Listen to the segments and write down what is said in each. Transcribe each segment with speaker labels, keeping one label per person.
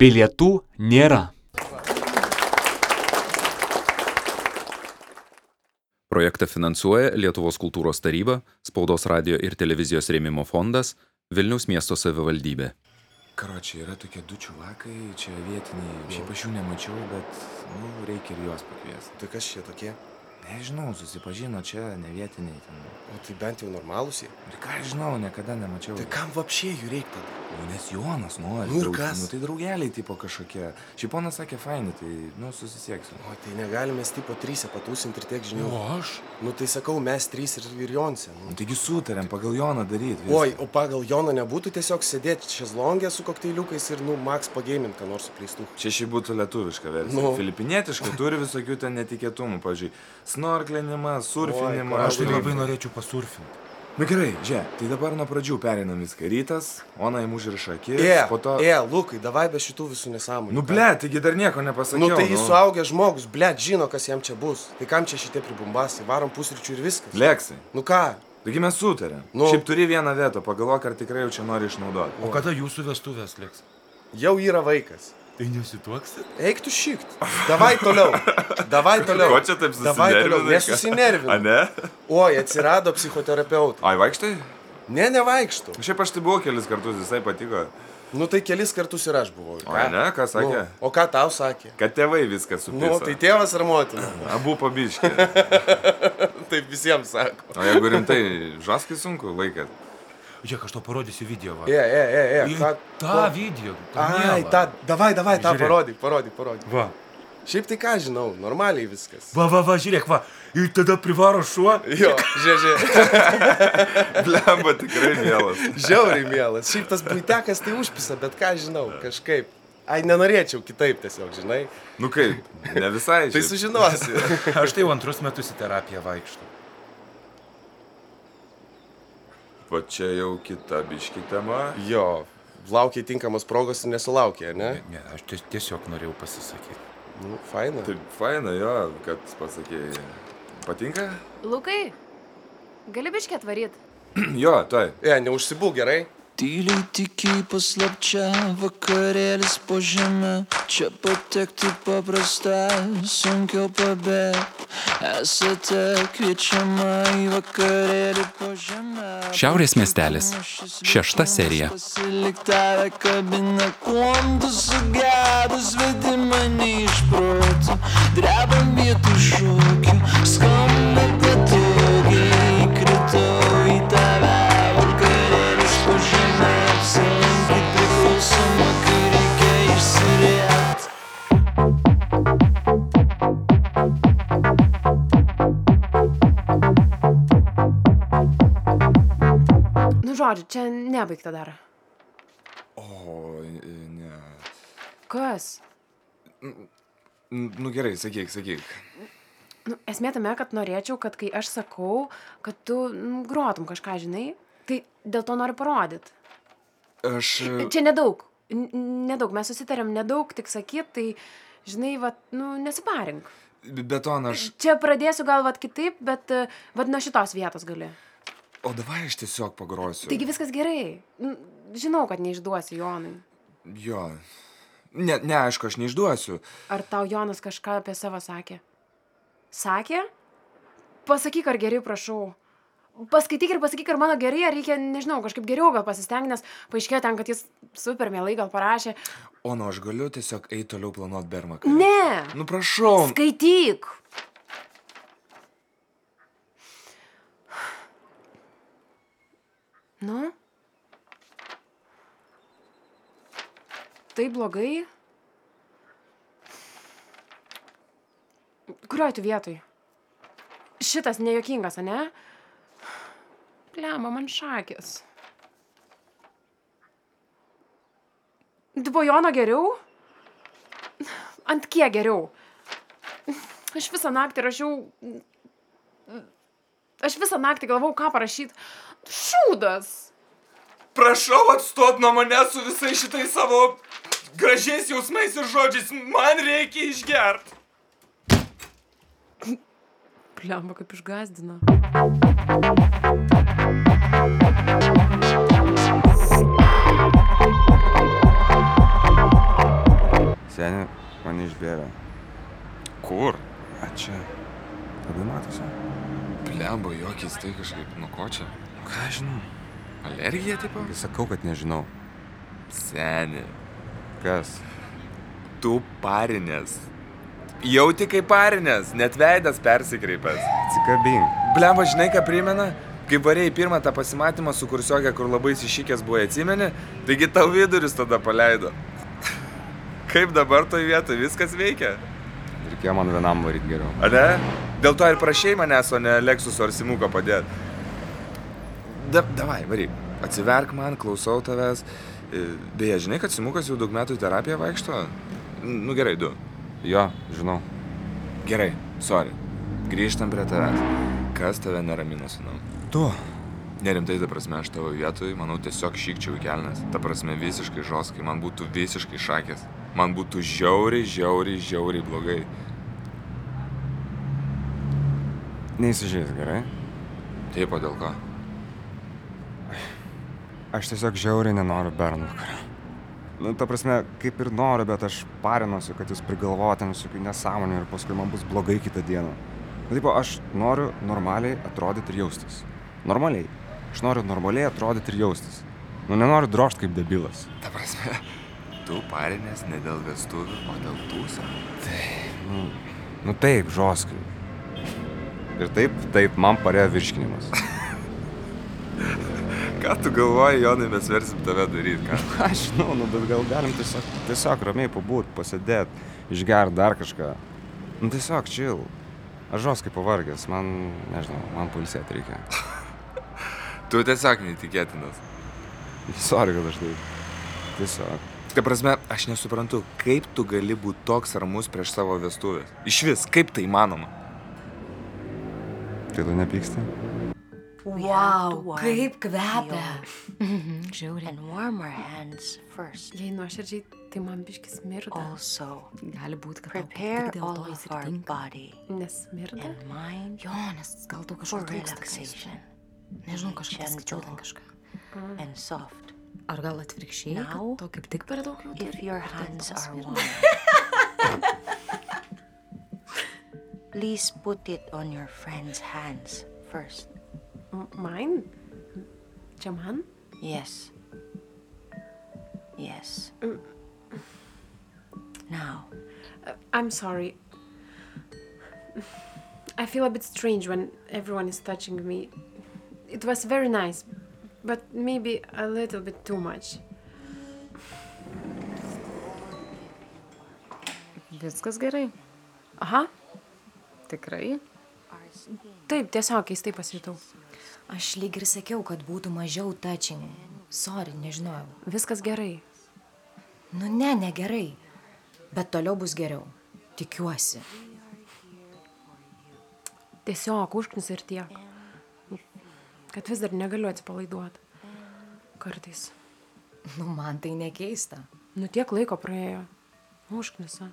Speaker 1: Bilietų nėra.
Speaker 2: Projektą finansuoja Lietuvos kultūros taryba, Spaudos radio ir televizijos rėmimo fondas, Vilniaus miesto savivaldybė.
Speaker 3: Karočiui, yra tokie du čuvakai, čia vietiniai. Šiaip aš jų nemačiau, bet, nu, reikia ir juos pakviesti.
Speaker 4: Tai kas čia tokie?
Speaker 3: Nežinau, susipažino čia ne vietiniai ten.
Speaker 4: O tai bent jau normalūs jie.
Speaker 3: Ir ką aš žinau, niekada nemačiau.
Speaker 4: Tai kam vapšie jų reikia tada?
Speaker 3: Nu, nes Jonas nori.
Speaker 4: Nu ir
Speaker 3: draug-
Speaker 4: kas?
Speaker 3: Nu, tai draugeliai tipo kažkokie. Šiaip ponas sakė, fainai, tai, nu, susisieksiu.
Speaker 4: O tai negalime mes tipo trysia patūsinti ir tiek žinių.
Speaker 3: aš?
Speaker 4: Nu tai sakau, mes trys ir, ir Jonse.
Speaker 3: Nu,
Speaker 4: Nu.
Speaker 3: taigi sutarėm pagal Joną daryti.
Speaker 4: Oi, o pagal Joną nebūtų tiesiog sėdėti šezlongę su kokteiliukais ir, nu, Max pagėminti, ką nors suplėstų.
Speaker 3: Čia šį būtų lietuviška versija.
Speaker 4: Nu.
Speaker 3: Nu. Filipinietiška turi visokių ten netikėtumų, pavyzdžiui, snorklinimas, surfinimas.
Speaker 4: Oi, Aš tai
Speaker 3: nu,
Speaker 4: labai
Speaker 5: norėčiau pasurfinti.
Speaker 3: Na gerai, žiūrėk, tai dabar nuo pradžių pereinam viską. Rytas, Ona jam užrašą akis,
Speaker 4: E,
Speaker 3: po to...
Speaker 4: e, Lukai, davai be šitų visų nesąmonių.
Speaker 3: Nu ble, taigi dar nieko nepasakiau.
Speaker 4: Nu tai jis suaugęs žmogus, ble, žino, kas jam čia bus. Tai kam čia šitie pribumbasi, varom pusryčių ir viskas.
Speaker 3: Leksai,
Speaker 4: Nu ką,
Speaker 3: taigi mes sutarėm.
Speaker 4: Nu.
Speaker 3: Nu. Šiaip turi vieną vietą, pagalvok, ar tikrai jau čia nori išnaudoti.
Speaker 5: O kada jūsų vestuvės liks?
Speaker 4: jau yra vaikas.
Speaker 5: Tai nesituoksit?
Speaker 4: Eik tu šikt. Davai toliau. Davai toliau.
Speaker 3: Ko čia taip
Speaker 4: Davai toliau.
Speaker 3: susinervinai, ką? A
Speaker 4: Nesusinervinu.
Speaker 3: ne?
Speaker 4: Oi, atsirado psichoterapeutai.
Speaker 3: Ai vaikštai?
Speaker 4: Ne, nevaikštų.
Speaker 3: Šiaip aš tai buvau kelis kartus, visai patiko.
Speaker 4: Nu tai kelis kartus ir aš buvau. ir
Speaker 3: O
Speaker 4: ką?
Speaker 3: ne, ką sakė?
Speaker 4: Nu, o ką tau sakė?
Speaker 3: Kad tėvai viską
Speaker 4: Nu,
Speaker 3: supirko.
Speaker 4: tai tėvas ar motina. Nu,
Speaker 3: Abu pabiškė.
Speaker 4: Taip visiems sako.
Speaker 3: O jeigu rimtai, žaskai sunku laikas.
Speaker 5: Žiūrėk, aš to parodysiu video. va.
Speaker 4: E, e, e, e.
Speaker 5: Į
Speaker 4: Ką,
Speaker 5: tą video. tą
Speaker 4: Ai,
Speaker 5: mielą.
Speaker 4: tą, davai, davai, tą
Speaker 5: Žiūrėk.
Speaker 4: parodyk, parodyk, parodyk.
Speaker 5: Va.
Speaker 4: Šiaip tai ką žinau, normaliai viskas.
Speaker 5: Va, va, va, žiūrėk, va. Ir tada privaro šuo.
Speaker 4: Jo, žiūrėk,
Speaker 3: Blemba, tikrai mielas.
Speaker 4: žiauriai mielas. Šiaip tas buitekas tai užpisa, bet ką žinau, kažkaip. Ai, nenorėčiau kitaip tiesiog, žinai.
Speaker 3: Nu kaip, ne visai.
Speaker 4: Tai
Speaker 3: šiaip.
Speaker 4: sužinosi.
Speaker 5: Aš tai jau antrus metus į terapiją vaikštų.
Speaker 3: Va čia jau kita biški tema.
Speaker 4: Jo, laukiai tinkamas progos ir nesulaukė, ne?
Speaker 5: Ne, aš ties- tiesiog norėjau pasisakyti.
Speaker 4: Nu, faina.
Speaker 3: Taip, faina jo, kad pasakėjai. Patinka?
Speaker 6: Lukai, gali biškė atvaryti?
Speaker 3: Jo, tai.
Speaker 4: E, neužsibūk gerai.
Speaker 7: Tyliai tiki paslapčia vakarėlis po žemę Čia patekti paprasta, sunkiau pabėgti Esate kviečiama į vakarėlį po žemę
Speaker 2: Šiaurės miestelis. Šešta serija.
Speaker 7: Pasiliktavę kabina, kuom tu sugedus vedi mane iš proto Dreba vietų šūkių, skamba patogiai Kritau į tave vakarėlis po žemę Apsilankyt priklausoma, kai reikia išsirėt
Speaker 6: Nu, žodžiu, čia nebaigta dar.
Speaker 3: O, ne.
Speaker 6: Kas?
Speaker 3: Nu gerai, sakyk, sakyk.
Speaker 6: Nu, esmė tame, kad norėčiau, kad kai aš sakau, kad tu nu, grotum kažką, žinai, tai dėl to noriu parodyti.
Speaker 3: Aš. e,
Speaker 6: Čia nedaug. N- n- Nedaug, mes susitarėm nedaug, tik sakyt, tai, žinai, va, nu, nesiparink.
Speaker 3: Bet on aš.
Speaker 6: Čia pradėsiu gal va kitaip, bet e, va nuo šitos vietos gali.
Speaker 3: O davai aš tiesiog pagrosiu.
Speaker 6: Taigi viskas gerai. Nu, Žinau, kad neišduosiu Jonui.
Speaker 3: Jo. Ne, ne, aišku, aš neišduosiu.
Speaker 6: Ar tau Jonas kažką apie savo sakė? Sakė? Pasakyk, ar geri, prašau. Paskaityk ir pasakyk, ar mano gerai, ar reikia, nežinau, kažkaip geriau gal pasisteng, nes paaiškėjo ten, kad jis super mielai gal parašė.
Speaker 3: O, nu aš galiu tiesiog eiti toliau planuoti bermaką.
Speaker 6: Ne!
Speaker 3: Nu prašau.
Speaker 6: Skaityk! Nu? Tai blogai? Kurioj tu vietoj? Šitas nejuokingas, ne? Pliama man šakės. Dvojono geriau? Ant kiek geriau? Aš visą naktį rašiau. Aš visą naktį galvau, ką parašyti. Šūdas!
Speaker 3: Prašau atstot nuo manęs su visais šitais savo gražiais jausmais ir žodžiais. Man reikia išgerti.
Speaker 6: Pliamba kaip išgazdina.
Speaker 1: Kur? A čia. Labai matosi.
Speaker 3: Blemba, jokiais tai kažkaip, nu ko čia?
Speaker 1: Ką aš žinau?
Speaker 3: Alergija, tipo?
Speaker 1: Kai Sakau, kad nežinau.
Speaker 3: Seni,
Speaker 1: Kas?
Speaker 3: tu parinės. Jauti kaip parinės, net veidas persikreipęs.
Speaker 1: Atsikabink.
Speaker 3: Blemba, žinai, ką primena? Kai varėjai pirmą tą pasimatymą su kursiokė, kur labai išsikęs buvo atsimeni, taigi tau viduris tada paleido. Kaip dabar toje vietoje viskas veikia?
Speaker 1: Reikėjo man vienam varyti geriau.
Speaker 3: Ar ne? Dėl to ir prašai manęs, o ne Lexus ar Simuko padėti. Da, davai, varyk. Atsiverk man, klausau tavęs. E, Beje, žinai, kad Simukas jau daug metų į terapiją vaikšto? Nu gerai, du.
Speaker 1: Jo, žinau.
Speaker 3: Gerai, sorry. Grįžtam prie tavęs. Kas tave neramina, sinau?
Speaker 1: Tu.
Speaker 3: Nerimtai, ta prasme, aš tavo vietoj, manau, tiesiog šykčiau į kelnes. Ta prasme, visiškai žoskai, man būtų visiškai šakės. Man būtų žiauriai, žiauriai, žiauriai blogai.
Speaker 1: Neįsižeis, gerai?
Speaker 3: Taip, o dėl ko?
Speaker 1: Aš tiesiog žiauriai nenoriu Bernvakario. Nu, ta prasme, kaip ir noriu, bet aš parinosiu, kad jūs prigalvojate visokių nesąmonių ir paskui man bus blogai kitą dieną. Nu, Taip, aš noriu normaliai atrodyti ir jaustis. Normaliai. Aš noriu normaliai atrodyti ir jaustis. Nu, nenoriu drožti kaip debilas.
Speaker 3: Ta prasme, tu parinės ne dėl vestuvių, o dėl tūsą.
Speaker 1: Nu taip, žoskai. Ir taip, taip, man parėjo virškinimas.
Speaker 3: Ką tu galvoji, Jonai, mes versim tave daryti, ką?
Speaker 1: Aš žinau, nu, bet gal galim tiesiog, tiesiog ramiai pabūt, pasėdėt, išgert dar kažką. Nu, tiesiog čil. Aš žos kaip pavargęs, man, nežinau, man pulsėti reikia.
Speaker 3: Tu tiesiog neįtikėtinas.
Speaker 1: Sorry, kad aš taip. Tiesiog.
Speaker 3: Ta prasme, aš nesuprantu, kaip tu gali būti toks ramus prieš savo vestuvės. Iš vis, kaip tai manoma?
Speaker 1: Tai tu nepyksti?
Speaker 8: Wow, kaip kvepia.
Speaker 6: Žiauriai.
Speaker 8: And warm our hands first.
Speaker 6: Jei nuoširdžiai, tai man biškis mirda.
Speaker 8: Also,
Speaker 9: Gali būti, kad
Speaker 8: prepare
Speaker 9: prepare
Speaker 8: all of our body
Speaker 6: Nesmirda?
Speaker 8: and mind
Speaker 9: Jo, nes gal tau
Speaker 8: for
Speaker 9: kažko trūksta. ką jis žino.
Speaker 8: relaxation.
Speaker 9: Nežinau, kažkaip skaičiau ten
Speaker 8: Gentle
Speaker 9: kažką.
Speaker 8: and soft.
Speaker 9: Ar gal atvirkščiai,
Speaker 8: Now,
Speaker 9: kad to kaip tik per daug jau
Speaker 8: If your hands are warm, please put it on your friend's hands first.
Speaker 6: M- Mine? Čia man?
Speaker 8: Yes. Yes. Now,
Speaker 6: I'm sorry. I feel a bit strange when everyone is touching me. It was very nice, but maybe a little bit too much.
Speaker 9: Viskas gerai.
Speaker 6: Aha,
Speaker 9: Tikrai.
Speaker 6: taip, tiesiog keistai pasijutau.
Speaker 9: Aš lyg ir sakiau, kad būtų mažiau touching. Sorry, nežinojau.
Speaker 6: Viskas gerai.
Speaker 9: Nu ne, negerai. Bet toliau bus geriau. Tikiuosi.
Speaker 6: Tiesiog užknis ir tiek. Kad vis dar negaliu atsipalaiduoti. Kartais.
Speaker 9: Nu, man tai nekeista.
Speaker 6: Nu tiek laiko praėjo. Užknisa.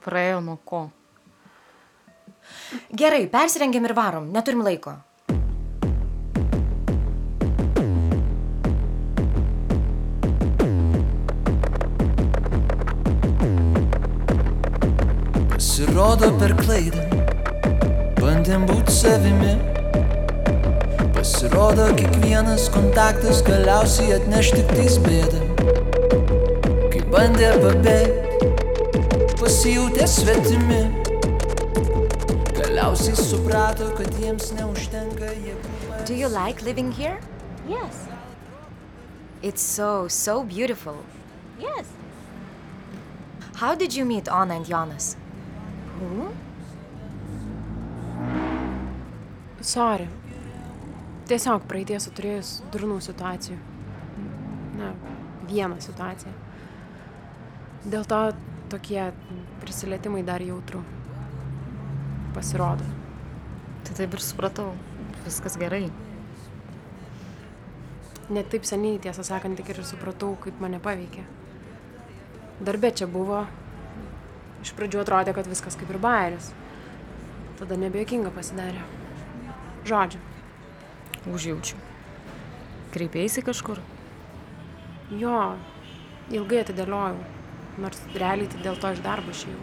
Speaker 9: Praėjo nuo ko? Gerai, persirengiam ir varom. Neturim laiko.
Speaker 7: Pasirodo per klaidą, bandėm būti savimi. Pasirodo kiekvienas kontaktas galiausiai atneš tik tais bėdą. Kai bandė pabėgti, pasijutė svetimi. Galiausiai suprato, kad jiems neužtenka jėgų.
Speaker 9: Do you like living here? Yes. It's so, so beautiful. Yes. How did you meet Anna and Jonas? Who?
Speaker 6: Sorry. Tiesiog praeitie esu turėjus durnų situacijų. Na, vieną situaciją. Dėl to tokie prisilietimai dar jautru. Pasirodo.
Speaker 9: Tai taip ir supratau. Viskas gerai.
Speaker 6: Net taip seniai, tiesą sakant, tik ir supratau, kaip mane paveikė. Darbe čia buvo. Iš pradžių atrodė, kad viskas kaip ir bairis. Tada nebejokinga pasidarė. Žodžiu,
Speaker 9: Užjaučiu. Kreipėsi kažkur?
Speaker 6: jo, ilgai atidėliojau. Nors realiai tai dėl to iš darbo išėjau.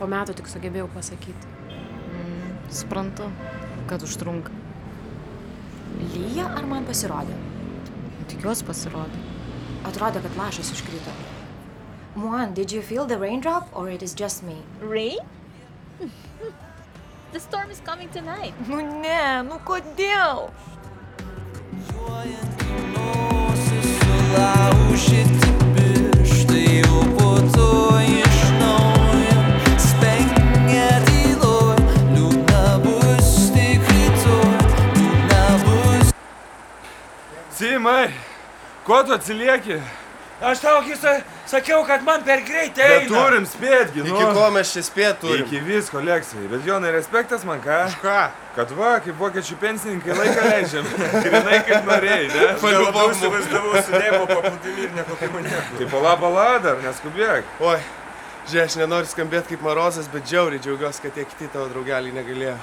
Speaker 6: Po metų tik sugebėjau pasakyti.
Speaker 10: Suprantu, kad užtrunka.
Speaker 9: Lyja ar man pasirodė?
Speaker 10: Tikiuosi pasirodė.
Speaker 9: Atrodė, kad lašas iškrito. Muan, did you feel the raindrop or it is just me?
Speaker 11: Rain? the storm is coming tonight.
Speaker 9: Nu ne, nu kodėl?
Speaker 7: Sulaužyti pirštai, o po to iš naujo spengę tyloj. Liūdna bus tik rytoj, liūdna bus
Speaker 3: Simai, ko tu atsilieki?
Speaker 5: Aš tau gi sa- sakiau, kad man per greitai.
Speaker 3: Bet
Speaker 5: eina.
Speaker 3: turim spėtgi, nu.
Speaker 5: Iki ko
Speaker 4: mes čia spėtų?
Speaker 3: Iki visko, Leksai. Bet Jonai, respektas man ką? Už ką? Kad va, kaip vokiečių pensininkai laiką leidžiam. Grinai kaip norėjai, ne?
Speaker 4: Paliubau
Speaker 3: įsivaizdavau sudėjau
Speaker 4: paplūdimi ir nekokimu nieko.
Speaker 3: Tai pala pala dar, neskubėk.
Speaker 4: Oi, žiūrėk, aš nenoriu skambėti kaip Marozas, bet džiauriai džiaugiuosi, kad tie kiti tavo draugeliai negalėjo.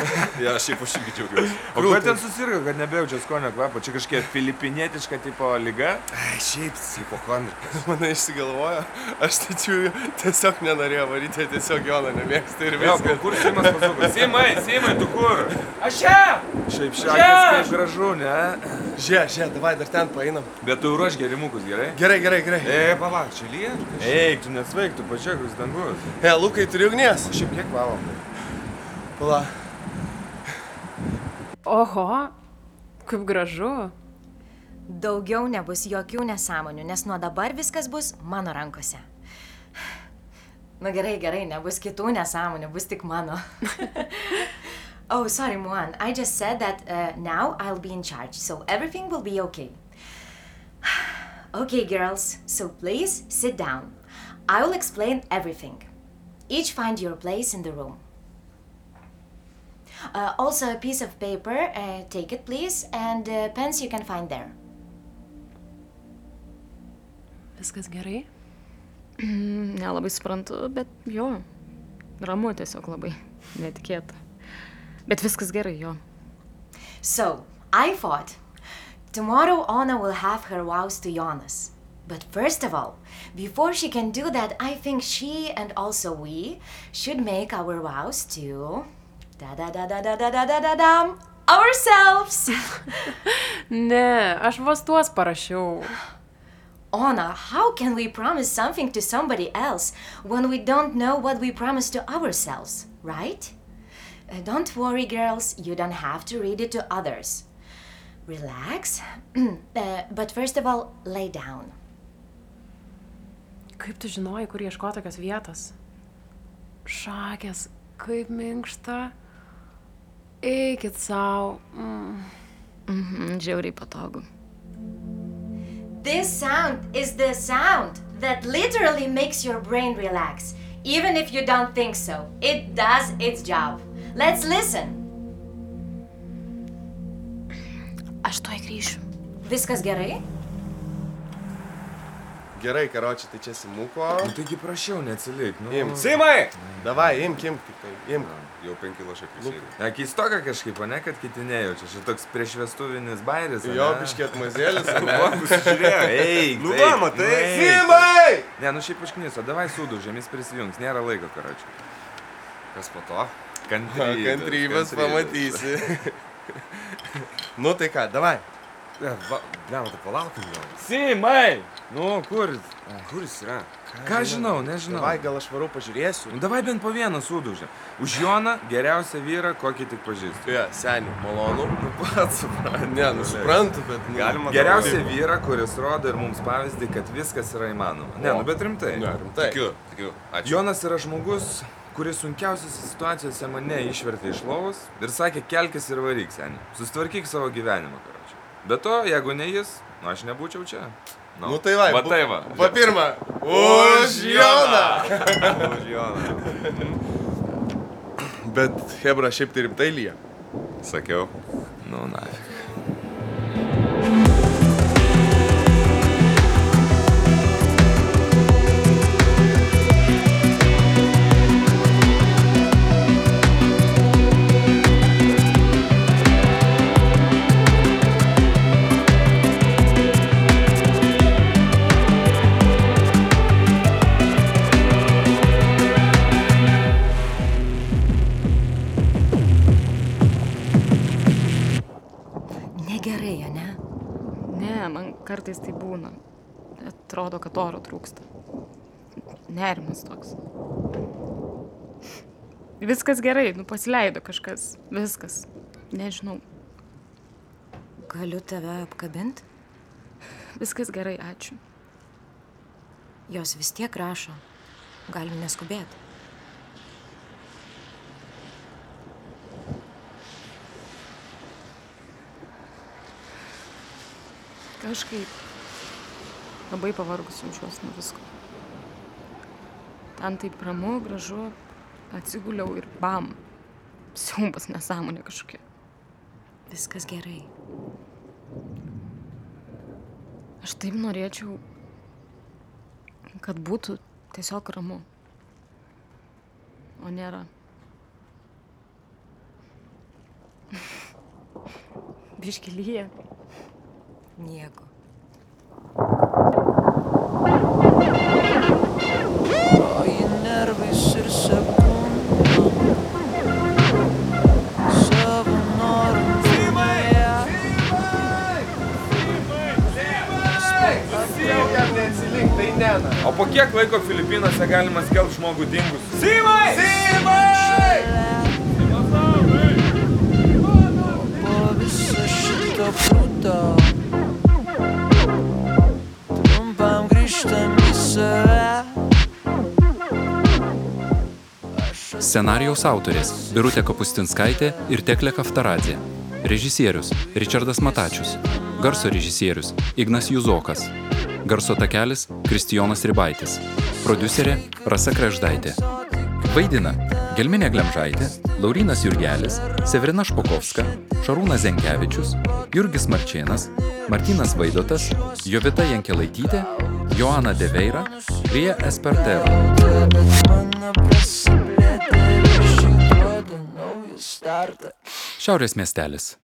Speaker 3: Ja, aš šiaip už irgi džiaugiuosi. O
Speaker 4: Krūtai.
Speaker 3: kodėl ten susirgo, kad nebejaučia skonio kvapo? Čia kažkiek filipinietiška tipo lyga? Ai, šiaip, hipochondrikas.
Speaker 4: Mane išsigalvojo, aš tačiau tiesiog nenorėjau varyti, tiesiog Jono nemėgstu ir
Speaker 3: Jo,
Speaker 4: viskas.
Speaker 3: kur Simas pasuko? Simai, Simai, tu kur?
Speaker 5: Aš čia.
Speaker 3: Šiaip
Speaker 4: Čia!
Speaker 3: šiandien kaip gražu, ne?
Speaker 4: Žia, žia, davai dar ten painam.
Speaker 3: Bet tu ruoš gerimukus, gerai?
Speaker 4: Gerai, gerai, gerai.
Speaker 3: E, palauk, čia lyja? Eik, tu nesvaik, tu pačiak, jūs dangus.
Speaker 4: E, Lukai, turi ugnies.
Speaker 3: Šiaip kiek valandų?
Speaker 4: Pala.
Speaker 6: Oho, kaip gražu.
Speaker 9: Daugiau nebus jokių nesąmonių, nes nuo dabar viskas bus mano rankose. Na gerai, gerai, nebus kitų nesąmonių, bus tik mano. oh, sorry, Muan. I just said that uh, now I'll be in charge, so everything will be okay. okay, girls, so please sit down. I will explain everything. Each find your place in the room. Uh, also, a piece of paper, uh, take it please, and uh, pens you can find there.
Speaker 6: Viskas gerai?
Speaker 10: Mm, Nelabai suprantu, bet jo. Ramu tiesiog labai. Netikėta. Bet viskas gerai, jo.
Speaker 9: So, I thought tomorrow Anna will have her vows to Jonas. But first of all, before she can do that, I think she and also we should make our vows to da da da da da da da da da dam ourselves.
Speaker 6: Ne, aš vos tuos parašiau.
Speaker 9: Anna, how can we promise something to somebody else when we don't know what we promise to ourselves, right? Uh, don't worry, girls, you don't have to read it to others. Relax, Uh, but first of all, lay down.
Speaker 6: Kaip tu žinojai, kur ieško tokios vietos? Šakės, kaip minkšta. Eikit savo. Mm.
Speaker 10: Mhm, žiauriai patogu.
Speaker 9: This sound is the sound that literally makes your brain relax, even if you don't think so. It does its job. Let's listen.
Speaker 10: Aš tuoj grįšiu.
Speaker 9: Viskas gerai?
Speaker 4: Gerai, karoči, tai čia simuko.
Speaker 3: Nu, taigi prašiau, neatsilik. Nu.
Speaker 4: Imk.
Speaker 3: Simai!
Speaker 4: Davai, imk, imk, tik tai, imk.
Speaker 3: Jau penki lašai prisėdė. Ne, keistoka kažkaip, o ne, kad kiti nejaučia. Čia toks priešvestuvinis bairis.
Speaker 4: Jo, biški atmazėlis, ane?
Speaker 3: Žiūrėjau, eik.
Speaker 4: Nu
Speaker 3: eik,
Speaker 4: va, matai.
Speaker 3: eik.
Speaker 4: Simai!
Speaker 3: Ne, nu šiaip išknis, o davai sudužėm, jis prisijungs, nėra laiko, karočiui. Kas po to? Kantrybės.
Speaker 4: Kantrybės pamatysi. nu tai ką, davai.
Speaker 3: Ne, va, ne, tai palaukim gal. Simai! Nu, kur? jis? Kur jis yra? Ką žinau, nežinau.
Speaker 4: Davai, gal aš varau pažiūrėsiu.
Speaker 3: Nu, davai bent po vieną sudužę. Už Joną geriausią vyrą, kokį tik pažįstu.
Speaker 4: Jo, seniai, malonu.
Speaker 3: Nu, pats suprantu.
Speaker 4: Ne, nu suprantu, bet nu,
Speaker 3: Galima. Geriausią vyrą, kuris rodo ir mums pavyzdį, kad viskas yra įmanoma. Ne, nu, bet rimtai.
Speaker 4: Ne, rimtai. Tikiu,
Speaker 3: tikiu. Ačiū. Jonas yra žmogus, kuris sunkiausiose situacijose mane išvertė iš lovos ir sakė, kelkis ir varyk, seniai. Sustvarkyk savo gyvenimą, karočiui. Be to, jeigu ne jis, nu, aš nebūčiau čia.
Speaker 4: Nu tai va,
Speaker 3: Va tai va.
Speaker 4: Pa pirmą. Už Joną!
Speaker 3: Už Joną.
Speaker 4: Bet Hebra šiaip tai rimtai lyja.
Speaker 3: Sakiau. Nu, na.
Speaker 9: negerai, ne?
Speaker 6: Ne, man kartais tai būna. Atrodo, kad oro trūksta. Nerimas toks. Viskas gerai, nu pasileido kažkas. Viskas. Nežinau.
Speaker 9: Galiu tave apkabinti?
Speaker 6: Viskas gerai, ačiū.
Speaker 9: Jos vis tiek rašo. Galim neskubėti.
Speaker 6: Kažkaip. Labai pavargus jaučiuosi nuo visko. Ten taip ramu, gražu. Atsiguliau ir bam. Siumbas nesąmonė kažkokia.
Speaker 9: Viskas gerai.
Speaker 6: Aš taip norėčiau, kad būtų tiesiog ramu. O nėra. Biškelyje.
Speaker 9: Nieko.
Speaker 7: Oji nervais ir sekundom Savo noru
Speaker 12: Neatsilink, tai nena.
Speaker 3: O po kiek laiko Filipinuose galima skelbti žmogų dingus?
Speaker 13: Simai! Simai!
Speaker 7: Po viso šito prūto Trumpam grįžtam į save
Speaker 2: Scenarijaus autorės - Birutė Kapustinskaitė ir Teklė Kaftaradė. Režisierius - Richardas Matačius. Garso režisierius - Ignas Juzokas. Garso takelis - Kristijonas Ribaitis. Producerė - Rasa Kreždaitė. Vaidina - Gelminė Glemžaitė, Laurinas Jurgelis, Severina Špokovska, Šarūnas Zenkevičius, Jurgis Marčėnas, Martinas Vaidotas, Jovita Jankelaitytė, Joana Deveira, Rija Espertero.
Speaker 7: Mano prasiplėtė ir iš jų duoda naują startą
Speaker 2: Šiaurės miestelis.